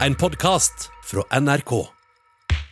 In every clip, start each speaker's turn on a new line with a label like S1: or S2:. S1: En podkast fra NRK.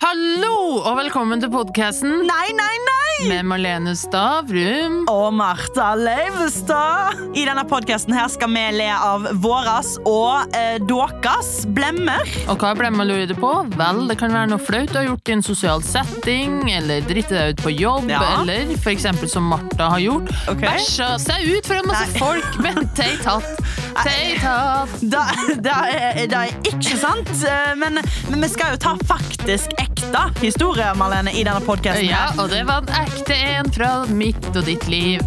S2: Hallo og velkommen til podkasten
S3: Nei, nei, nei!
S2: med Marlene Stavrum.
S3: Og Martha Leivestad. I denne podkasten her skal vi le av våras og eh, deres blemmer.
S2: Og hva ble man lurer på? Vel, det kan være noe flaut du har gjort i en sosial setting, eller dritte deg ut på jobb,
S3: Ja.
S2: eller for eksempel som Martha har gjort,
S3: Ok.
S2: bæsja seg ut for en masse
S3: Nei.
S2: folk med tei tatt. Tei tatt.
S3: Da, da, er, da er ikke sant. Eh, Men, men vi skal jo ta faktisk ekte historier, Marlene, i denne podkasten.
S2: Ja, og det var en ekte en fra mitt og ditt liv.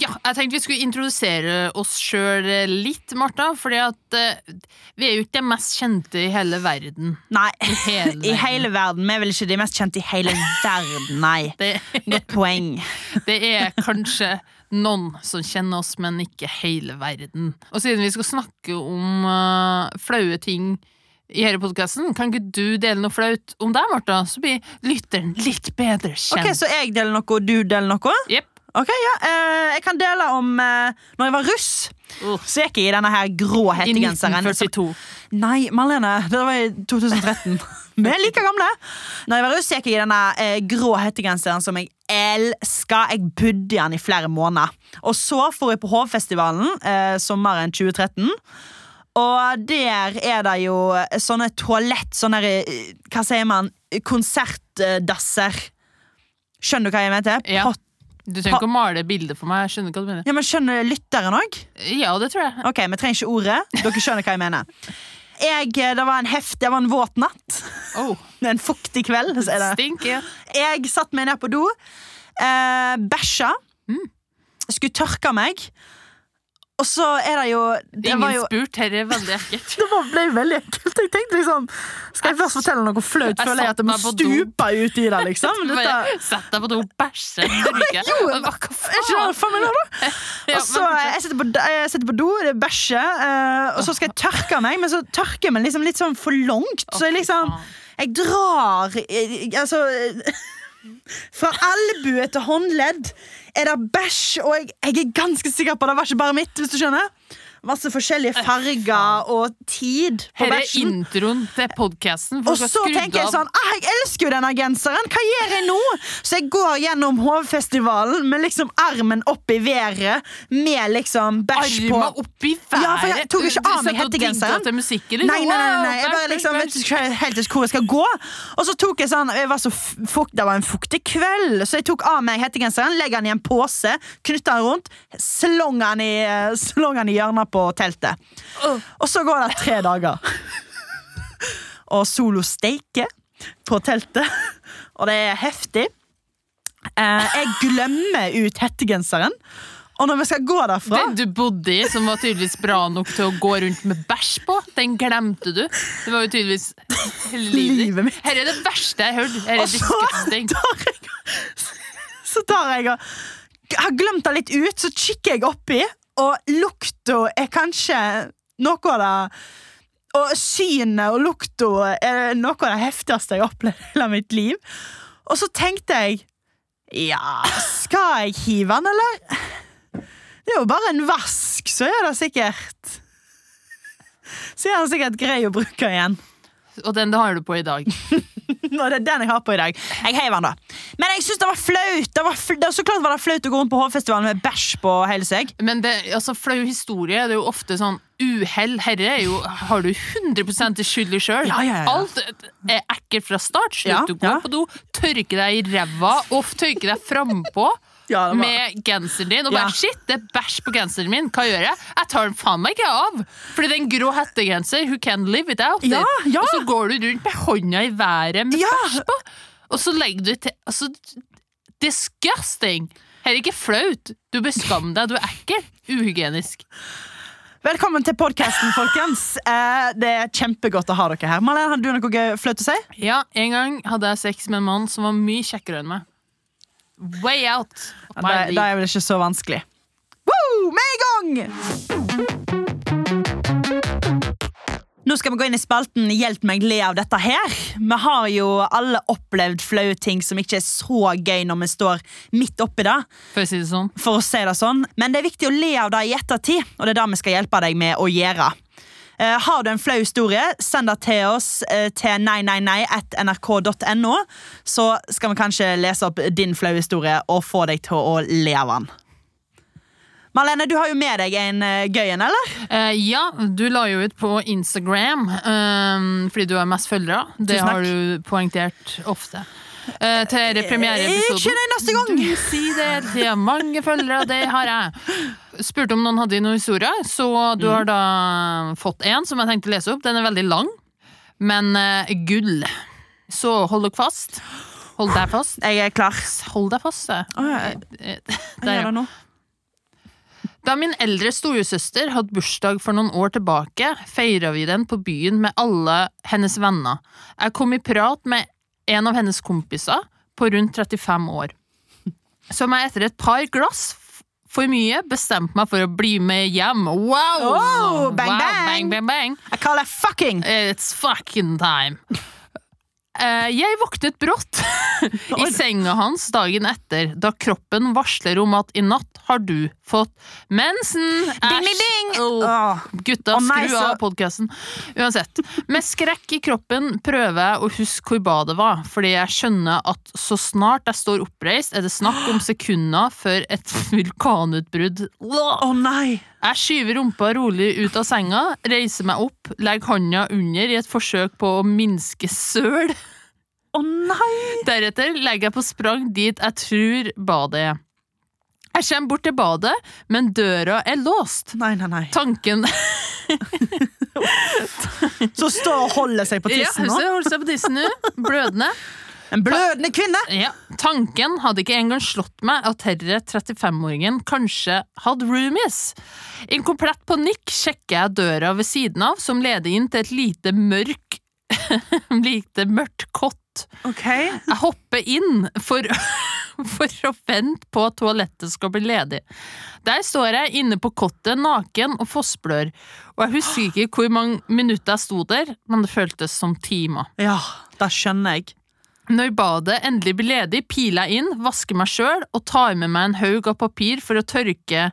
S2: Ja, jeg tenkte vi skulle introdusere oss sjøl litt, Martha. Fordi at eh, vi er jo ikke det mest kjente i hele verden.
S3: Nei.
S2: hele
S3: I hele verden. Vi er vel ikke de mest kjente i hele verden, nei.
S2: Det,
S3: Godt poeng.
S2: det er kanskje noen som kjenner oss, men ikke hele verden. Og siden vi skal snakke om eh, flaue ting i denne podkasten, kan ikke du dele noe flaut om deg, Martha? Så blir lytteren litt bedre
S3: Ok,
S2: kjent.
S3: Så jeg deler noe, og du deler noe?
S2: Jepp.
S3: Ok, ja. eh, Jeg kan dele om eh, Når jeg var russ,
S2: Uh,
S3: så gikk jeg i denne her grå
S2: I
S3: hettegenseren. som-
S2: 1942.
S3: Nei, Marlene, det var i 2013. Vi er like gamle. Når jeg var russ, gikk jeg i denne eh, grå hettegenseren som jeg elska. Jeg bodde i den i flere måneder. Og så for jeg på Hovfestivalen eh, sommeren 2013. Og der er det jo eh, sånne toalett, sånne eh, Hva sier man? Konsertdasser. Skjønner du hva jeg mener?
S2: Ja.
S3: Pott-
S2: Du trenger ikke å male bildet for meg. Jeg skjønner hva du mener.
S3: ja, men Skjønner lytteren òg?
S2: Ja, det tror jeg.
S3: Ok, Vi trenger ikke ordet. Dere skjønner hva jeg mener. Jeg, eh, det var en heft, det var en våt natt.
S2: Oh,
S3: Det er en fuktig kveld. Så er det.
S2: stink, ja.
S3: Jeg satt meg ned på do, eh, bæsja, Mm. skulle tørke meg. Og så er det jo Det
S2: Ingen
S3: var jo
S2: spurt. Dette er veldig ekkelt.
S3: det var- ble veldig ekkelt. Jeg tenkte liksom Skal jeg først fortelle noe flaut,
S2: Jeg
S3: føler jeg at
S2: satt
S3: jeg må
S2: meg på do.
S3: stupe ut i det, liksom. Dette,
S2: Bare Sett deg på do, bæsje, drikke. Hva
S3: er ikke
S2: faen?
S3: det faen meg lov, da?
S2: Ja,
S3: Og så
S2: men
S3: eh, jeg sitter på, d- jeg sitter på do, det er bæsje, eh, og så skal jeg tørke meg, men så tørker jeg meg liksom litt sånn for langt. Så jeg liksom
S2: faen.
S3: Jeg drar eh, Altså eh, Fra albue til håndledd er det bæsj, og jeg, jeg er ganske sikker på at det var ikke bare mitt, hvis du skjønner. Masse forskjellige farger og tid
S2: Her
S3: på
S2: er
S3: bæsjen.
S2: introen til podkasten.
S3: Og så tenker jeg sånn ah, Jeg elsker jo denne genseren! Hva gjør jeg nå? Så jeg går gjennom Hovfestivalen med liksom armen opp i været, med liksom bæsj på
S2: Arma opp i været!
S3: Ja, for jeg tok jo ikke
S2: Du
S3: av meg
S2: satt og
S3: hettegenseren.
S2: digga til musikken, liksom.
S3: Nei, nei, nei, nei. Jeg
S2: Wow,
S3: bare
S2: bæsj,
S3: liksom vet
S2: bæsj.
S3: ikke helt ikke hvor jeg skal gå. Og så tok jeg sånn jeg var så f- fukt, Det var en fuktig kveld, så jeg tok av meg hettegenseren, legger den i en pose, knytter den rundt, slong den i, slong den i hjørnet på teltet. Og så går det tre dager. Og solo steike på teltet, og det er heftig. Eh, jeg glemmer ut hettegenseren, og når vi skal gå derfra
S2: Den du bodde i, som var tydeligvis bra nok til å gå rundt med bæsj på, den glemte du. Det var jo tydeligvis hele
S3: Livet
S2: livet
S3: mitt.
S2: ditt.
S3: Altså,
S2: Her er det verste jeg har hørt. Her
S3: Og
S2: er
S3: så
S2: disgusting.
S3: tar jeg Så tar jeg og jeg har glemt det litt ut, så kikker jeg oppi, og lukta er kanskje noe av det Og synet og lukta er noe av det heftigste jeg har opplevd i hele mitt liv. Og så tenkte jeg Ja, skal jeg hive den, eller? Det er jo bare en vask, så er det sikkert Så er det sikkert grei å bruke igjen.
S2: Og den har du på i dag.
S3: Og det er den jeg har på i dag. Jeg heiv den, da. Men jeg syns det var flaut! Det var fl det, så klart var det flaut å gå rundt på Hovfestivalen med bæsj på hele seg.
S2: Men det, altså, flau historie det er jo ofte sånn uhell. Herre er jo, har du 100 til skyld i sjøl.
S3: Ja, ja, ja.
S2: Alt er ekkelt fra start. Slutt
S3: Ja,
S2: å gå
S3: ja.
S2: på do, tørke deg i ræva og tørke deg frampå.
S3: Ja, det var-
S2: Med genseren din. Og bare
S3: Ja.
S2: shit, det er bæsj på genseren min. Hva gjør jeg? Jeg tar den faen meg ikke av! Fordi det er en grå hettegenser. Who can live without
S3: Ja,
S2: it?
S3: ja.
S2: Og så går du rundt med hånda i været med
S3: Ja.
S2: bæsj på, og så legger du til altså, Disgusting! Her er ikke flaut. Du bør skamme deg. Du er ekkel. Uhygienisk.
S3: Velkommen til podkasten, folkens. Eh, det er kjempegodt å ha dere her. Malene, hadde du noe gøy- flaut å si?
S2: Ja, en gang hadde jeg sex med en mann som var mye kjekkere enn meg. Way out of my
S3: Da, da
S2: league.
S3: er vel ikke så vanskelig. Woo! Med en gang! Nå skal vi gå inn i spalten Hjelp meg le av dette her. Vi har jo alle opplevd flaue ting som ikke er så gøy når vi står midt oppi det.
S2: For å si det sånn.
S3: for å si det sånn. Men det er viktig å le av det i ettertid, og det er det vi skal hjelpe deg med å gjøre. Eh, har du en flau historie, send det til oss eh, til neineinei.nrk.no, så skal vi kanskje lese opp din flau historie og få deg til å le av den. Marlene, du har jo med deg en eh, gøy en, eller?
S2: Eh, ja, du la jo ut på Instagram eh, fordi du har mest følgere. Det
S3: Tusen takk.
S2: har du poengtert ofte. Eh, til denne premiereepisoden.
S3: Ikke den neste gang.
S2: Du sier det hele tida. Mange følgere, det har jeg. Spurte om noen hadde noen historier, så du har da fått en som jeg tenkte å lese opp. Den er veldig lang, men eh, gull. Så hold dere fast. Hold deg fast.
S3: Jeg er klar.
S2: Hold deg fast, jeg.
S3: Å, jeg-
S2: Eh,
S3: Jeg
S2: Der, ja.
S3: gjør det nå.
S2: Da min eldre storesøster hadde bursdag for noen år tilbake, feira vi den på byen med alle hennes venner. Jeg kom i prat med en av hennes kompiser på rundt 35 år, som jeg etter et par glass f- for mye bestemte meg for å bli med hjem. Wow!
S3: Oh, bang,
S2: wow,
S3: bang.
S2: bang, bang, bang.
S3: Jeg kaller det fucking.
S2: It's fucking time. Eh, jeg våknet brått i senga hans dagen etter, da kroppen varsler om at i natt har du fått mensen.
S3: Ding, ding,
S2: Æsj.
S3: ding.
S2: Åh.
S3: Åh.
S2: Gutta,
S3: Å nei,
S2: skru
S3: så-
S2: av podkasten. Uansett. Med skrekk i kroppen prøver jeg å huske hvor badet var, fordi jeg skjønner at så snart jeg står oppreist, er det snakk om sekunder før et vulkanutbrudd.
S3: Å nei!
S2: Jeg skyver rumpa rolig ut av senga, reiser meg opp, legger handa under i et forsøk på å minske søl.
S3: Å nei!
S2: Deretter legger jeg på sprang dit jeg tror badet er. Jeg kommer bort til badet, men døra er låst.
S3: Nei, nei, nei.
S2: Tanken
S3: Så stå og holde seg på
S2: Ja,
S3: tissen nå.
S2: huset holder seg på tissen nå. Blødende.
S3: En blødende kvinne!
S2: Ja. Tanken hadde ikke engang slått meg at herre 35-åringen kanskje hadde roomies. I en komplett panikk sjekker jeg døra ved siden av, som leder inn til et lite mørk lite mørkt kott.
S3: Ok.
S2: Jeg hopper inn for, for å vente på at toalettet skal bli ledig. Der står jeg inne på kottet, naken og fossblør. Og jeg husker ikke hvor mange minutter jeg sto der, men det føltes som timer.
S3: Ja, det skjønner jeg.
S2: Når badet endelig blir ledig, piler jeg inn, vasker meg sjøl og tar med meg en haug av papir for å tørke,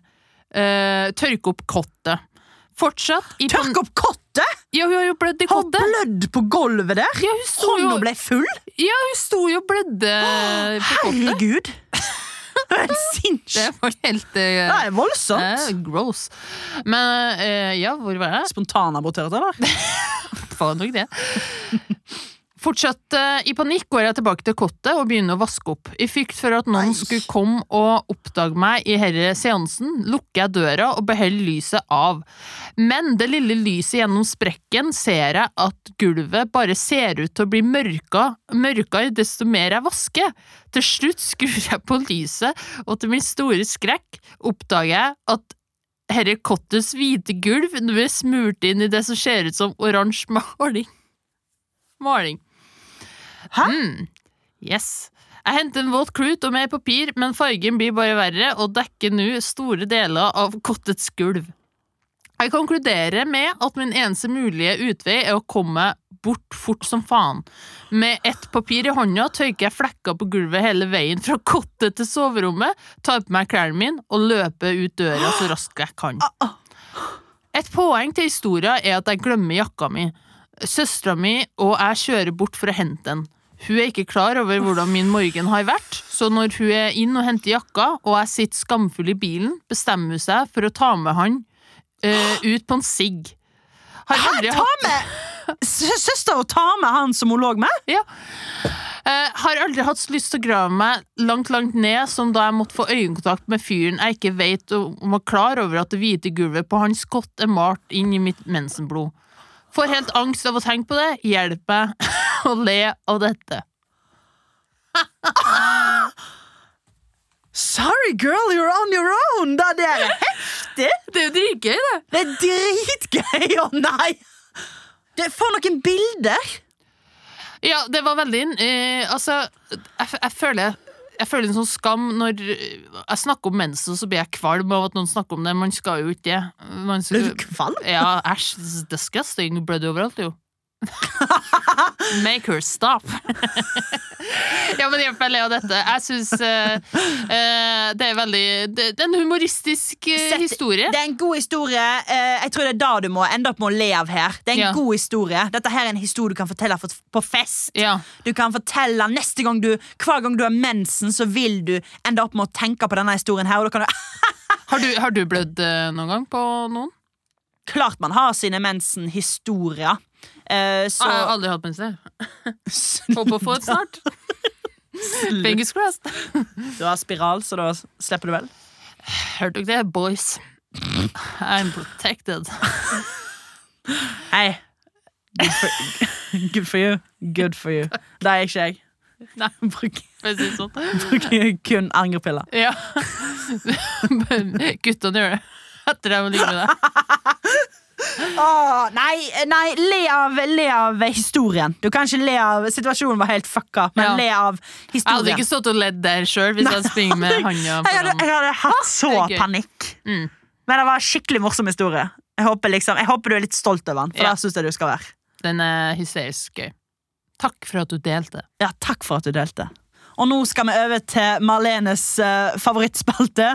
S2: eh, tørke opp kottet. Fortsatt i pan-
S3: Tørk opp kottet!
S2: Ja, hun har jo blødd i
S3: Har
S2: kottet!
S3: blødd på gulvet der!
S2: Ja, hun sto jo
S3: Hånda ble full!
S2: Ja, hun sto jo og blødde på kottet.
S3: Herregud! Det er en
S2: Det
S3: sinnssyk
S2: var helt
S3: Det
S2: eh,
S3: er voldsomt.
S2: eh, gross. Men eh, ja, hvor var jeg?
S3: Spontanabortert, eller?
S2: Faen nok det. Fortsatt eh, i panikk går jeg tilbake til kottet og begynner å vaske opp. I frykt for at noen
S3: Nei.
S2: skulle komme og oppdage meg i herre seansen, lukker jeg døra og beholder lyset av. Men det lille lyset gjennom sprekken ser jeg at gulvet bare ser ut til å bli mørka, mørkere desto mer jeg vasker. Til slutt skrur jeg på lyset, og til min store skrekk oppdager jeg at herre kottets hvite gulv nå er smurt inn i det som ser ut som oransje maling. Maling.
S3: Hæ?
S2: Mm. Yes. Jeg henter en våt klut og mer papir, men fargen blir bare verre og dekker nå store deler av kottets gulv. Jeg konkluderer med at min eneste mulige utvei er å komme bort fort som faen. Med ett papir i hånda tørker jeg flekker på gulvet hele veien fra kottet til soverommet, tar på meg klærne mine og løper ut døra så raskt jeg kan. Et poeng til historia er at jeg glemmer jakka mi. Søstera mi og jeg kjører bort for å hente den. Hun er ikke klar over hvordan min morgen har vært, så når hun er inn og henter jakka, og jeg sitter skamfull i bilen, bestemmer hun seg for å ta med han eh, ut på en sigg. Har aldri
S3: Ta med sø- søster og ta med han som hun lå med?
S2: ja. Eh, har aldri hatt så lyst til å grave meg langt, langt ned som da jeg måtte få øyekontakt med fyren jeg ikke vet om om var klar over at det hvite gulvet på hans skott er malt inn i mitt mensenblod. Får helt angst av å tenke på det. Hjelp meg å le av dette.
S3: Sorry, girl, you're on your own! Det der er heftig!
S2: Det er jo dritgøy, det.
S3: Det er dritgøy! Å nei! Det, for noen bilder!
S2: Ja, det var veldig inn. Eh, altså, jeg, f- jeg føler jeg føler en sånn skam når jeg snakker om mensen, så blir jeg kvalm av at noen snakker om det. Man skal jo ikke det. Man
S3: Ble
S2: skal,
S3: du kvalm?
S2: Ja, æsj, this is disgusting. Blødde overalt, jo. Make her stop. ja, men hjelp meg, Leo, dette. Jeg syns det er veldig det, det er en humoristisk eh,
S3: Sett-
S2: historie.
S3: Det er en god historie. Eh, jeg tror det er da du må ende opp med å le av her. Det er en
S2: Ja.
S3: god historie. Dette her er en historie du kan fortelle for- på fest.
S2: Ja.
S3: Du kan fortelle neste gang du Hver gang du har mensen, så vil du ende opp med å tenke på denne historien her. Og da kan du
S2: Har du, har du blødd eh, noen gang på noen?
S3: Klart man har sine mensenhistorier. Eh, så
S2: Jeg har aldri hatt mens jeg. Håper å få et snart. Fingers crossed.
S3: Du har spiral, så da slipper du vel.
S2: Hørte dere det, boys? I'm protected.
S3: Hei. Good for, good for you. Good for you. Det er ikke jeg.
S2: Nei.
S3: Bruk,
S2: For å si det sånn.
S3: bruker kun angrepiller.
S2: Ja. Guttene gjør det. Etter at de ligger med deg.
S3: Åh, Ah, nei, eh, nei le, av, le av historien. Du kan ikke le av Situasjonen var helt fucka, men
S2: Ja.
S3: le av
S2: Jeg hadde
S3: historien.
S2: ikke stått og ledd der sjøl hvis jeg hadde springet med handa
S3: jeg, hadde,
S2: foran.
S3: jeg hadde hatt så
S2: det er gøy.
S3: panikk.
S2: Mm.
S3: Men det var en skikkelig morsom historie. Jeg håper, liksom, jeg håper du er litt stolt over den, for
S2: Ja.
S3: der syns jeg du skal være.
S2: Den er hysterisk gøy. Takk for at du delte.
S3: Ja, takk for at du delte. Og nå skal vi over til Marlenes eh, favorittspalte.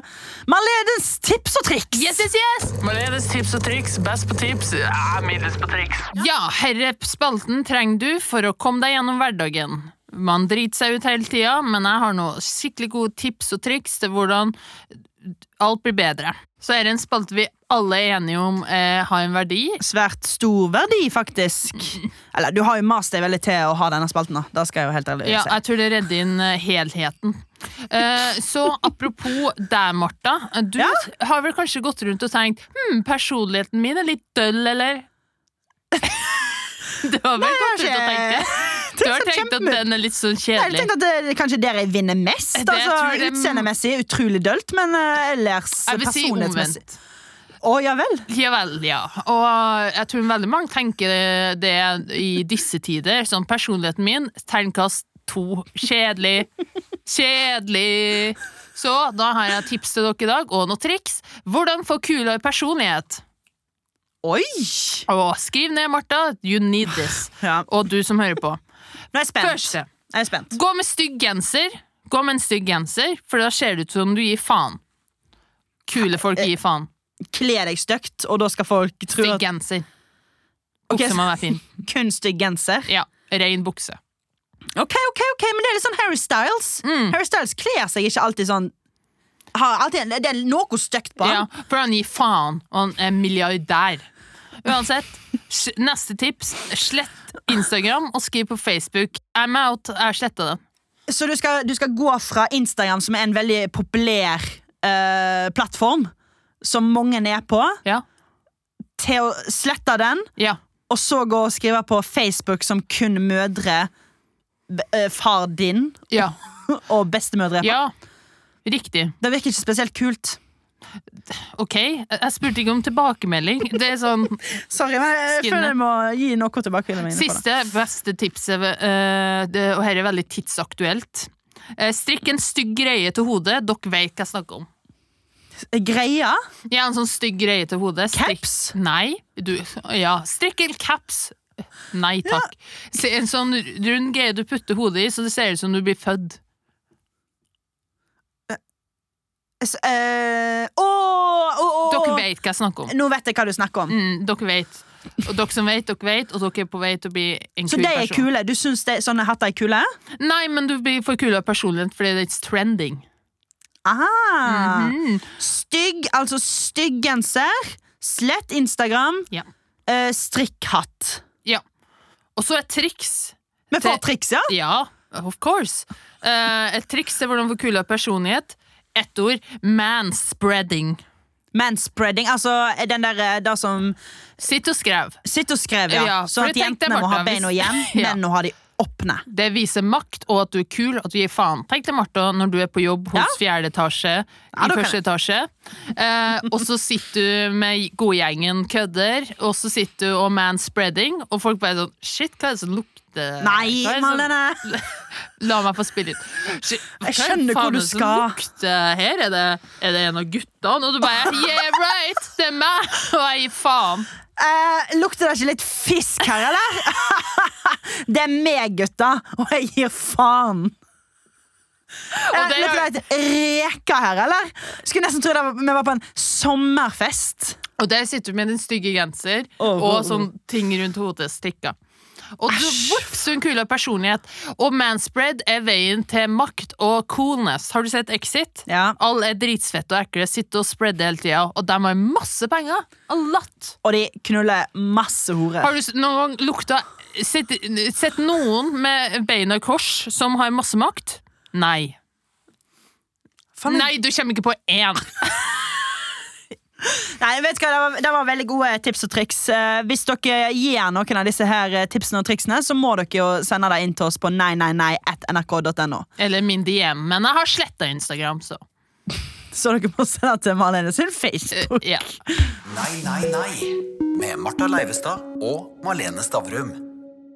S3: Marlenes tips og triks!
S2: Yes, yes, yes!
S4: Malenes tips og triks, best på tips, ja, middels på triks.
S2: Ja, herre spalten trenger du for å komme deg gjennom hverdagen. Man driter seg ut hele tida, men jeg har noen skikkelig gode tips og triks til hvordan alt blir bedre. Så er det en spalte vi alle er enige om eh, har en verdi.
S3: svært stor verdi, faktisk.
S2: Mm.
S3: Eller, du har jo mast deg veldig til å ha denne spalten. da. Da skal jeg jo helt ærlig
S2: Ja,
S3: si.
S2: jeg tror det redder inn eh, helheten. Eh, så apropos deg, Marta. Du
S3: Ja?
S2: har vel kanskje gått rundt og tenkt hm, personligheten min er litt døll, eller? du har vel gått rundt og tenkt det? Du har
S3: så
S2: tenkt at
S3: kjempe-
S2: den er litt sånn
S3: Jeg
S2: kjedelig?
S3: tenkte at det er kanskje der jeg vinner mest.
S2: Det
S3: altså,
S2: tror jeg-
S3: Utseendemessig utrolig dølt, men eh, ellers
S2: Jeg vil si
S3: personlighetsmessig.
S2: omvendt.
S3: Å, ja vel.
S2: Ja vel, ja. Og jeg tror veldig mange tenker det i disse tider. Sånn personligheten min, terningkast to. Kjedelig. Kjedelig. Så da har jeg tips til dere i dag, og noen triks. Hvordan få kulere personlighet?
S3: Oi!
S2: Og skriv ned, Martha. You need this.
S3: Ja.
S2: Og du som hører på.
S3: Nå er jeg spent.
S2: Første.
S3: Jeg er spent.
S2: Gå med stygg genser. Gå med en stygg genser, for da ser det ut som du gir faen. Kule folk gir faen.
S3: Kle deg stygt, og da skal folk tro
S2: Stygg
S3: at
S2: genser.
S3: Ok,
S2: Bukse må være fin.
S3: kun stygg genser.
S2: Ja, Rein bukse.
S3: Ok, ok, ok, men det er litt sånn Harry Styles.
S2: Mm.
S3: Harry Styles kler seg ikke alltid sånn har alltid, en- Det er noe stygt på
S2: Ja,
S3: ham.
S2: for han gir faen, og han er milliardær. Uansett, s- neste tips. Slett Instagram og skriv på Facebook. I'm out. Jeg har sletta det.
S3: Så du skal, du skal gå fra Instagram, som er en veldig populær eh, plattform, som mange er på,
S2: Ja.
S3: til å slette den,
S2: ja.
S3: og så gå og skrive på Facebook som kun mødre b- eh, far din
S2: Ja.
S3: og bestemødre.
S2: ja. Riktig.
S3: Det virker ikke spesielt kult.
S2: Ok, jeg- jeg spurte ikke om tilbakemelding. Det er sånn
S3: Sorry, men jeg
S2: Skinne.
S3: føler jeg må gi noe tilbake. Mine på det.
S2: Siste, beste tipset, eh, det, og her er veldig tidsaktuelt. Eh, Strikk en stygg greie til hodet. Dere vet hva jeg snakker om.
S3: Greia
S2: Ja, en sånn stygg greie til hodet. Strikk-
S3: Caps?
S2: Nei. Du, ja, strikk en caps. Nei takk. Se, En sånn rund greie du putter hodet i, så det ser ut som du blir født.
S3: S- eh, Å, å, å, å.
S2: Dere vet hva jeg snakker om.
S3: Nå vet jeg hva du snakker om.
S2: Mm, dere vet. Og dere som vet, dere vet, og dere er på vei til å bli en
S3: Så
S2: kul
S3: de er
S2: person.
S3: kule? Du syns det, sånne hatter er kule?
S2: Nei, men du blir for kul av personlighet fordi det er trending.
S3: Aha.
S2: Mhm.
S3: Stygg, altså stygg genser. Slett Instagram.
S2: Ja.
S3: Eh, strikkhatt.
S2: ja. Og så et triks.
S3: Vi får
S2: Det-
S3: triks, ja.
S2: Ja, of course. Eh, et triks til hvordan få kul av personlighet. Ett ord. Manspreading.
S3: Manspreading. Altså eh, den der eh, da som
S2: Sitt og skrev.
S3: Sitt og skrev, ja.
S2: Ja, for
S3: sånn at
S2: jeg tenkte,
S3: jentene må ha
S2: Martha,
S3: beina
S2: hvis-
S3: igjen,
S2: Ja.
S3: men nå har de åpne.
S2: Det viser makt, og at du er kul, at du gir faen. Tenk deg, Martha, når du er på jobb hos
S3: Ja.
S2: fjerde etasje
S3: Ja,
S2: i
S3: da kan
S2: første
S3: jeg.
S2: etasje, eh, og så sitter du med godgjengen kødder, og så sitter du og manspreading, og folk bare sånn Shit, hva er det som lukter
S3: Nei,
S2: Hva er det som-
S3: Marlene!
S2: La meg få spille litt. Shit,
S3: Jeg
S2: hva er
S3: skjønner hvor
S2: faen
S3: du
S2: det som
S3: skal.
S2: lukter her? Er det, er det en av guttene? Og du bare Yeah, right! Det er meg! Og jeg gir faen.
S3: Eh, lukter det ikke litt fisk her, eller? det er meg, gutta, og jeg gir faen. Eh,
S2: det er-
S3: lukter det litt reker her, eller? Skulle nesten tro det var, vi var på en sommerfest.
S2: Og der sitter du med din stygge genser
S3: Åh, åh, åh.
S2: og sånn ting rundt hodet strikka. Og du vops, en kule av personlighet. Og manspread er veien til makt og coolness. Har du sett Exit?
S3: Ja.
S2: Alle er dritsfette og ekle, sitter og spreader hele tida, og de har masse penger. A lot.
S3: Og de knuller masse horer.
S2: Har du s- noen gang lukta sett, sett noen med beina i kors som har masse makt? Nei.
S3: Faen,
S2: Nei, du kommer ikke på én.
S3: Nei, vet du hva, det var, det var veldig gode tips og triks. Eh, hvis dere gir noen av disse her eh, tipsene og triksene, så må dere jo sende det inn til oss på neineinei.nrk.no.
S2: Eller min DM, men jeg har sletta Instagram, så
S3: Så dere må sende det til Marlene sin Facebook.
S2: eh, ja.
S5: Nei, nei, nei. Med Marta Leivestad og Malene Stavrum.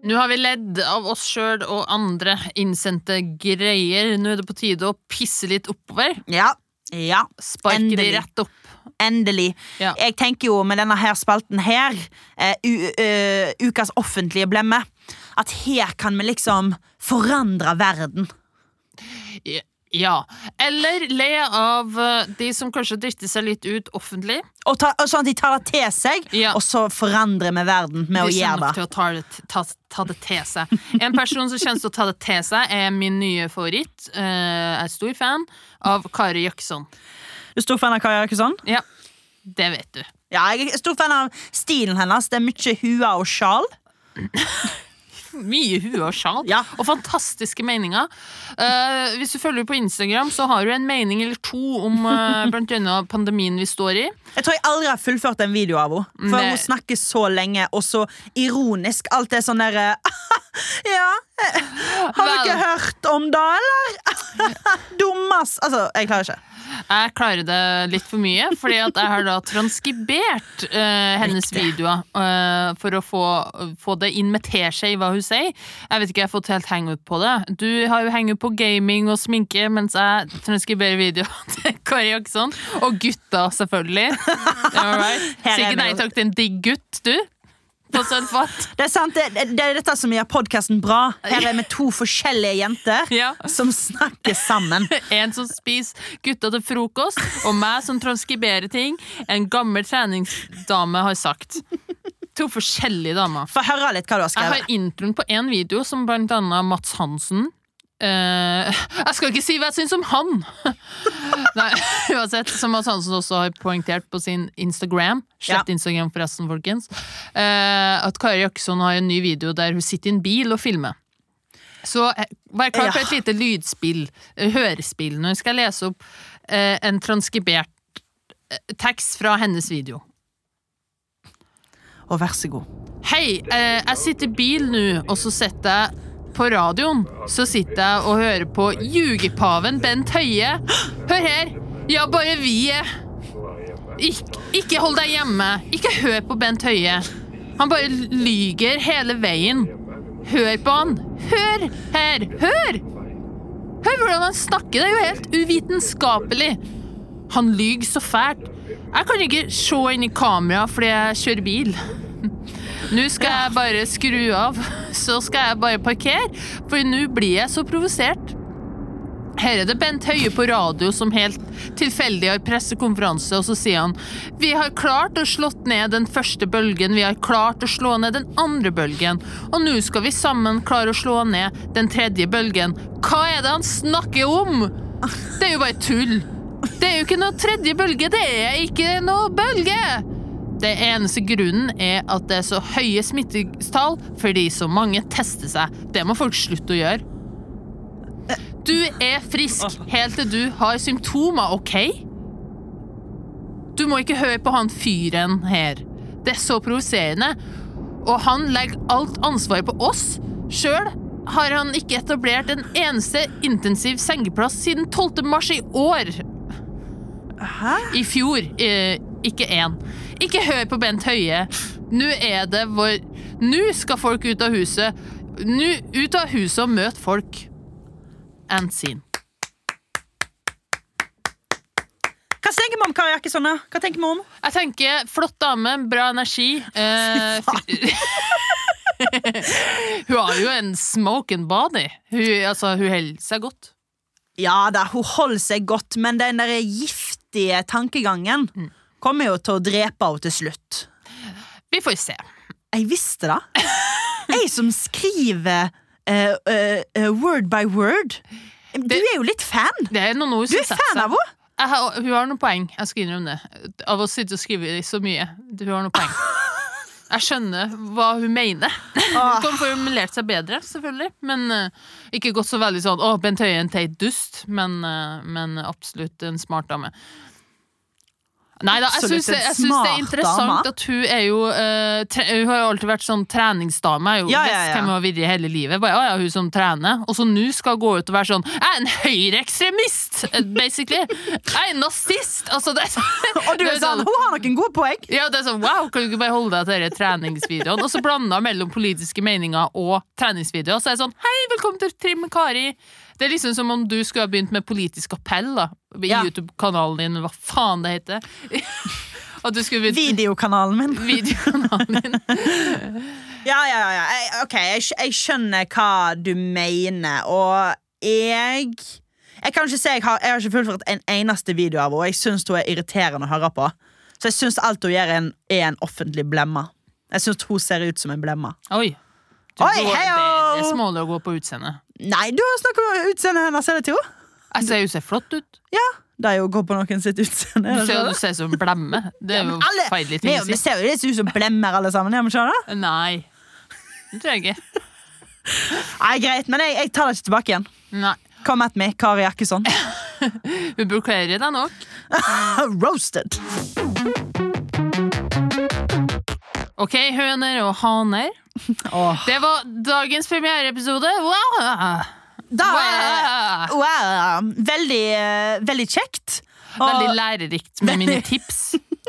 S2: Nå har vi ledd av oss sjøl og andre innsendte greier. Nå er det på tide å pisse litt oppover.
S3: Eh, Ja, ja,
S2: Sparke de
S3: Endelig.
S2: rett opp.
S3: endelig.
S2: Ja.
S3: Jeg tenker jo med denne her spalten her, eh, u, eh, ukas offentlige blemme, at her kan vi liksom forandre verden.
S2: Ja. Eller le av eh, de som kanskje driter seg litt ut offentlig.
S3: Og ta, og sånn at de tar det til seg,
S2: Ja.
S3: og så forandrer vi verden med å
S2: de som
S3: gjøre
S2: nok
S3: det.
S2: til å ta det, ta, ta det til seg. En person som kjennes til å ta det til seg, er min nye favoritt. eh, Jeg er stor fan av Kari Jaksson.
S3: Du er stor fan av Kari Jakkesson?
S2: Ja, det vet du.
S3: Ja, jeg er stor fan av stilen hennes. Det er mye hua og sjal.
S2: Mye hue og sjal,
S3: Ja.
S2: og fantastiske meninger. Eh, hvis du følger på Instagram, så har du en mening eller to om eh, blant annet pandemien vi står i.
S3: Jeg tror jeg aldri har fullført en video av henne. For
S2: Nei.
S3: hun snakker så lenge, og så ironisk. Alt er sånn der eh, Ja, eh, har dere
S2: Vel.
S3: hørt om det, eller? Dummas. Altså, jeg klarer ikke.
S2: Jeg klarer det litt for mye, fordi at jeg har da transkribert eh, hennes videoer eh, for å få, få det inn med teskje i hva hun sier. Jeg vet ikke, jeg har fått helt hangup på det. Du har jo hangup på gaming og sminke, mens jeg transkriberer videoer til Kari Jaksson. Og gutta, selvfølgelig. All right.
S3: Her er
S2: Sier ikke
S3: vi
S2: nei
S3: jo.
S2: takk til en digg gutt, du. På Sølvfat.
S3: Det er sant, det, det, det er dette som gjør podkasten bra. Her er vi to forskjellige jenter
S2: Ja.
S3: som snakker sammen.
S2: En som spiser gutta til frokost, og meg som transkriberer ting en gammel treningsdame har sagt. To forskjellige damer.
S3: Få høre litt hva du har
S2: Jeg
S3: skrevet.
S2: har introen på én video, som blant annet Mats Hansen. Eh, jeg skal ikke si hva jeg syns om han! Nei, uansett, som Mats Hansen også har poengtert på sin Instagram. Slett
S3: Ja.
S2: Instagram, forresten, folkens. eh, at Kari Jakkesson har en ny video der hun sitter i en bil og filmer. Så eh, vær klar for
S3: Ja.
S2: et lite lydspill, eh, hørespill, når jeg skal lese opp eh, en transkribert eh, tekst fra hennes video.
S3: Og vær så god.
S2: Hei, eh, jeg sitter i bil nå, og så sitter jeg på radioen. Så sitter jeg og hører på jugepaven Bent Høie. Hør her! Ja, bare vi er Ik Ikke hold deg hjemme. Ikke hør på Bent Høie. Han bare lyger hele veien. Hør på han. Hør her. Hør! Hør hvordan han snakker. Det er jo helt uvitenskapelig. Han lyger så fælt. Jeg kan ikke se inn i kamera fordi jeg kjører bil. Nå skal jeg bare skru av, så skal jeg bare parkere, for nå blir jeg så provosert. Her er det Bent Høie på radio som helt tilfeldig har pressekonferanse, og så sier han Vi har klart å slått ned den første bølgen, vi har klart å slå ned den andre bølgen, og nå skal vi sammen klare å slå ned den tredje bølgen. Hva er det han snakker om?! Det er jo bare tull. Det er jo ikke noe tredje bølge, det er ikke noe bølge! Det eneste grunnen er at det er så høye smittetall fordi så mange tester seg. Det må folk slutte å gjøre. Du er frisk helt til du har symptomer, OK? Du må ikke høre på han fyren her. Det er så provoserende. Og han legger alt ansvaret på oss. Sjøl har han ikke etablert en eneste intensiv sengeplass siden 12. mars i år.
S3: Hæ?
S2: I fjor, eh, ikke én. Ikke hør på Bent Høie. Nå er det vår Nå skal folk ut av huset. Nå ut av huset og møte folk. And seen.
S3: Hva syns tenker vi om Kari Jakkesson? da? Hva tenker vi om?
S2: Jeg tenker flott dame, bra energi. Eh, fy- hun har jo en smoking body. Hun, altså, hun holder seg godt.
S3: Ja da, hun holder seg godt, men den der giftige tankegangen kommer jo til å drepe henne til slutt.
S2: Vi får se.
S3: Jeg visste det. Jeg som skriver eh, eh, eh, word by word. Du er jo litt fan.
S2: Det er noen ord
S3: Du
S2: som
S3: er
S2: setter
S3: fan
S2: seg.
S3: av henne.
S2: Jeg har, hun har noen poeng. Jeg skal innrømme det. Av å sitte og skrive så mye. Hun har noen poeng. Jeg skjønner hva hun mener.
S3: Ah.
S2: Hun kan formulert seg bedre, selvfølgelig. Men eh, ikke gått så veldig sånn 'Å, Bent Høie er en teit dust', men, eh, men absolutt en smart dame. Nei da, jeg
S3: Absolutt
S2: syns det,
S3: en
S2: jeg synes det er
S3: smart
S2: interessant
S3: dame.
S2: at hun er jo eh, tre, Hun har jo alltid vært sånn treningsdame. Jeg har jo
S3: Ja, ja,
S2: visst
S3: ja.
S2: hvem hun har vært hele livet. Bare, ja, ja, hun som trener. Og så nå skal hun gå ut og være sånn Jeg er en høyreekstremist! eh, Basically. Jeg er nazist! Altså, det er sånn
S3: Og du
S2: det
S3: er sånn, hun har noen gode poeng.
S2: ja, det er sånn, wow, Kan du ikke bare holde deg til denne treningsvideoen? Og så blanda mellom politiske meninger og treningsvideoer. Så er det sånn Hei, velkommen til Trim med Kari. Det er liksom som om du skulle ha begynt med politisk appell da i
S3: Ja.
S2: YouTube-kanalen din, hva faen det heter. At du skulle begynt
S3: Videokanalen min.
S2: videokanalen din.
S3: Ja, ja, ja, ja. Jeg, ok, jeg, skj- jeg skjønner hva du mener, og jeg Jeg kan ikke si jeg har, jeg har ikke fullført en eneste video av henne. Jeg syns hun er irriterende å høre på. Så jeg syns alt hun gjør, er en, er en offentlig blemme. Jeg syns hun ser ut som en blemme.
S2: Oi.
S3: Oi,
S2: går- det,
S3: heio!
S2: det er smålig å gå på utseendet.
S3: Nei, du har snakket om utseendet hennes, er det til henne?
S2: Jeg ser jo ser flott ut.
S3: Ja. Det er jo å gå på noen sitt utseende.
S2: Du
S3: er det
S2: ser,
S3: ikke
S2: du
S3: det?
S2: ser ut som en blemme. Det er jo
S3: Alle,
S2: feil
S3: vi,
S2: ting å
S3: vi
S2: si.
S3: ser jo litt ut som blemmer, alle sammen. Ja, men skjønner du?
S2: Nei. Det tror jeg ikke.
S3: Nei, Greit, men jeg, jeg tar det ikke tilbake igjen.
S2: Nei.
S3: Come at me, Kari Jakkesson.
S2: Hun blokkerer deg nok.
S3: Roasted.
S2: Ok, høner og haner.
S3: Åh.
S2: Det var dagens premiereepisode. Wow!
S3: Da,
S2: Wow!
S3: wow, veldig, eh, veldig kjekt. Og
S2: Veldig lærerikt med mine tips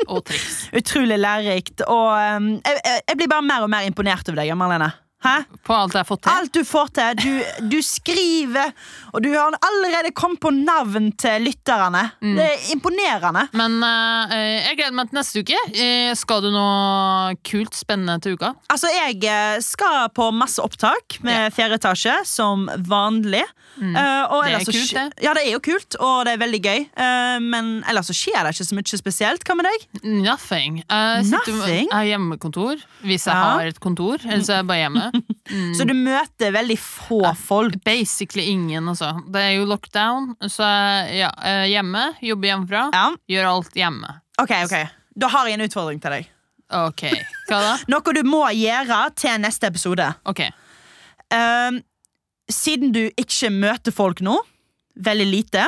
S2: og triks.
S3: utrolig lærerikt. Og um, jeg, jeg jeg blir bare mer og mer imponert over deg, Marlene. Hæ?
S2: På alt jeg har fått til.
S3: Alt du får til. Du, du skriver, og du har allerede kommet på navn til lytterne.
S2: Mm.
S3: Det er imponerende.
S2: Men eh, jeg gleder meg til neste uke. Eh, skal du noe kult, spennende til uka?
S3: Altså, jeg eh, skal på masse opptak med fjerde etasje, som vanlig. Eh, og
S2: Mm. Det er
S3: ellers så
S2: kult,
S3: skj-
S2: det.
S3: Ja, det er jo kult, og det er veldig gøy. Eh, men ellers så skjer det ikke så mye spesielt. Hva med deg?
S2: Nothing. Jeg, sitter,
S3: Nothing?
S2: jeg har hjemmekontor, hvis jeg
S3: Ja.
S2: har et kontor. Ellers er jeg bare hjemme. Mm.
S3: Så du møter veldig få folk.
S2: Basically ingen, altså. Det er jo lockdown, så jeg ja, eh, hjemme. Jobber hjemmefra.
S3: Ja,
S2: Gjør alt hjemme.
S3: ok, ok. Da har jeg en utfordring til deg.
S2: Ok. Hva da?
S3: Noe du må gjøre til neste episode.
S2: Ok.
S3: Ehm, siden du ikke møter folk nå, veldig lite,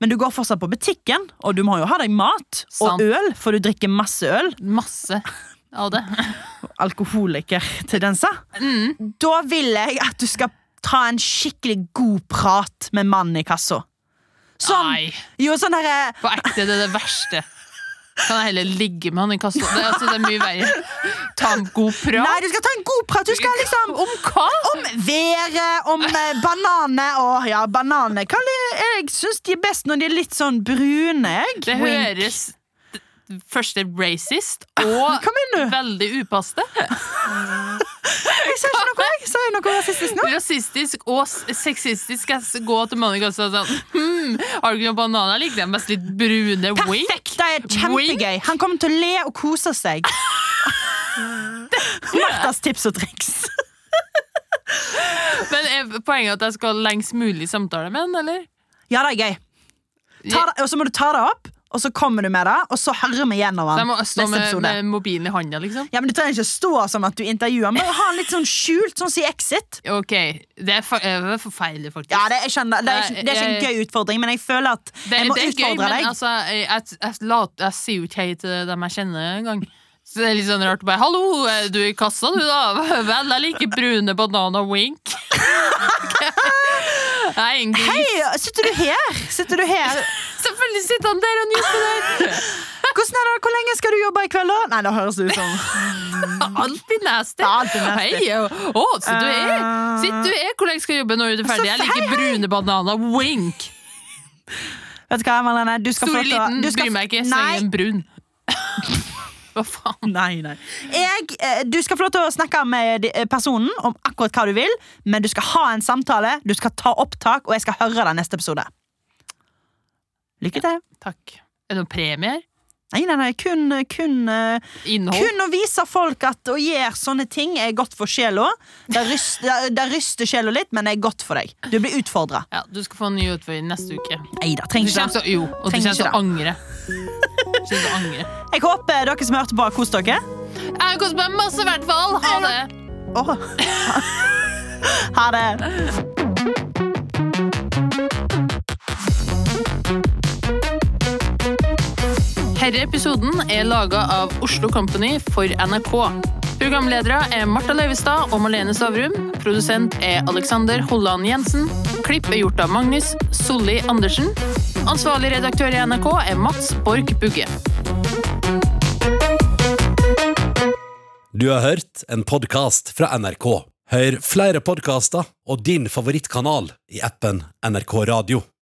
S3: men du går fortsatt på butikken, og du må jo ha deg mat
S2: Sant.
S3: og øl, for du drikker masse øl.
S2: Masse av det.
S3: Alkoholikertendenser.
S2: Mm.
S3: Da vil jeg at du skal ta en skikkelig god prat med mannen i kassa. Sånn,
S2: Nei,
S3: jo, sånn herre
S2: på ekte, det er det verste. Kan jeg heller ligge med han i kassa? Det, er- altså, det er mye verre. Ta en god prat.
S3: Nei, du skal ta en god prat! Du skal liksom
S2: Om hva?
S3: Om været, om eh, bananer og ja, bananer. Hva er- jeg syns de er best når de er litt sånn brune, jeg.
S2: Det
S3: Wink.
S2: høres først racist og
S3: Hva mener du?
S2: veldig upassende.
S3: Jeg sa ikke noe, jeg. Sa jeg noe rasistisk nå?
S2: Rasistisk og s- sexistisk. Jeg s- gå til mannen i kassa og sånn hmm, Har du ikke noen bananer? Jeg liker dem best litt brune. Wink.
S3: Perfekt! Det er kjempegøy. Han kommer til å le og kose seg. Marthas tips og triks.
S2: Men er poenget at jeg skal lengst mulig samtale med han, eller?
S3: Ja, det er gøy. Ta det, og så må du ta det opp, og så kommer du med det, og så hører vi gjennom
S2: Så
S3: den
S2: jeg må stå
S3: neste
S2: med,
S3: episode.
S2: med mobilen i handa, liksom?
S3: Ja, men Du trenger ikke stå som at du intervjuer, men ha den litt sånn skjult, sånn si Exit.
S2: Ok, det er, for, det er forferdelig faktisk
S3: Ja, det, jeg skjønner, det, er ikke, det er ikke en
S2: Jeg-
S3: gøy utfordring, men jeg føler at
S2: Eh, Det-
S3: jeg må
S2: det er gøy,
S3: utfordre
S2: men
S3: deg.
S2: altså, jeg, jeg, jeg, lat- jeg sier jo ikke hei til dem jeg kjenner en gang Så det er litt sånn rart å bare Hallo, er du i kassa du da? Vel, jeg liker brune banana wink Nei, en gris
S3: Hei, sitter du her? Sitter du her?
S2: Selvfølgelig sitter han der og nyter der
S3: Hvordan er det? Hvor lenge skal du jobbe i kveld, da? Nei, det høres ut som
S2: Alltid nasty
S3: Ja, alltid nasty. Eh,
S2: Hei, og- å, sitter du er Sitter du er, hvor lenge skal jeg jobbe når du er ferdig? Jeg
S3: Hei,
S2: liker brune banana wink
S3: Vet du hva, Marlene? Du skal
S2: Stor
S3: få
S2: eller
S3: lov til å-
S2: liten,
S3: du skal-
S2: bryr meg ikke, så
S3: Nei,
S2: lenge den er brun. Hva faen?
S3: Nei, nei. Jeg, eh, du skal få lov til å snakke med de- eh, personen om akkurat hva du vil, men du skal ha en samtale, du skal ta opptak, og jeg skal høre deg neste episode. Lykke til.
S2: Takk. Er det noen premier?
S3: Nei, nei, nei, kun, kun, eh,
S2: Innhold?
S3: kun å vise folk at å gjøre sånne ting er godt for sjela. Det ryst- det- det ryster sjela litt, men det er godt for deg. Du blir utfordra.
S2: Ja, du skal få en ny utfordring neste uke.
S3: Nei da,
S2: Du
S3: trenger
S2: kommer
S3: ikke
S2: til
S3: det.
S2: å- jo, og du
S3: Trenger
S2: kommer til
S3: ikke
S2: å angre. Du kommer til å angre.
S3: Jeg håper dere som hørte på, har kost dere.
S2: Jeg har kost meg masse, i hvert fall. Ha det.
S3: Åh. ha det.
S2: Herre episoden er laget av Oslo Company for NRK. Programledere er Marta Leivestad og Marlene Stavrum. Produsent er Alexander Holland Jensen. Klipp er gjort av Magnus Solli Andersen. Ansvarlig redaktør i NRK er Mats Borch Bugge.
S1: Du har hørt en podkast fra NRK. Hør flere podkaster og din favorittkanal i appen NRK Radio.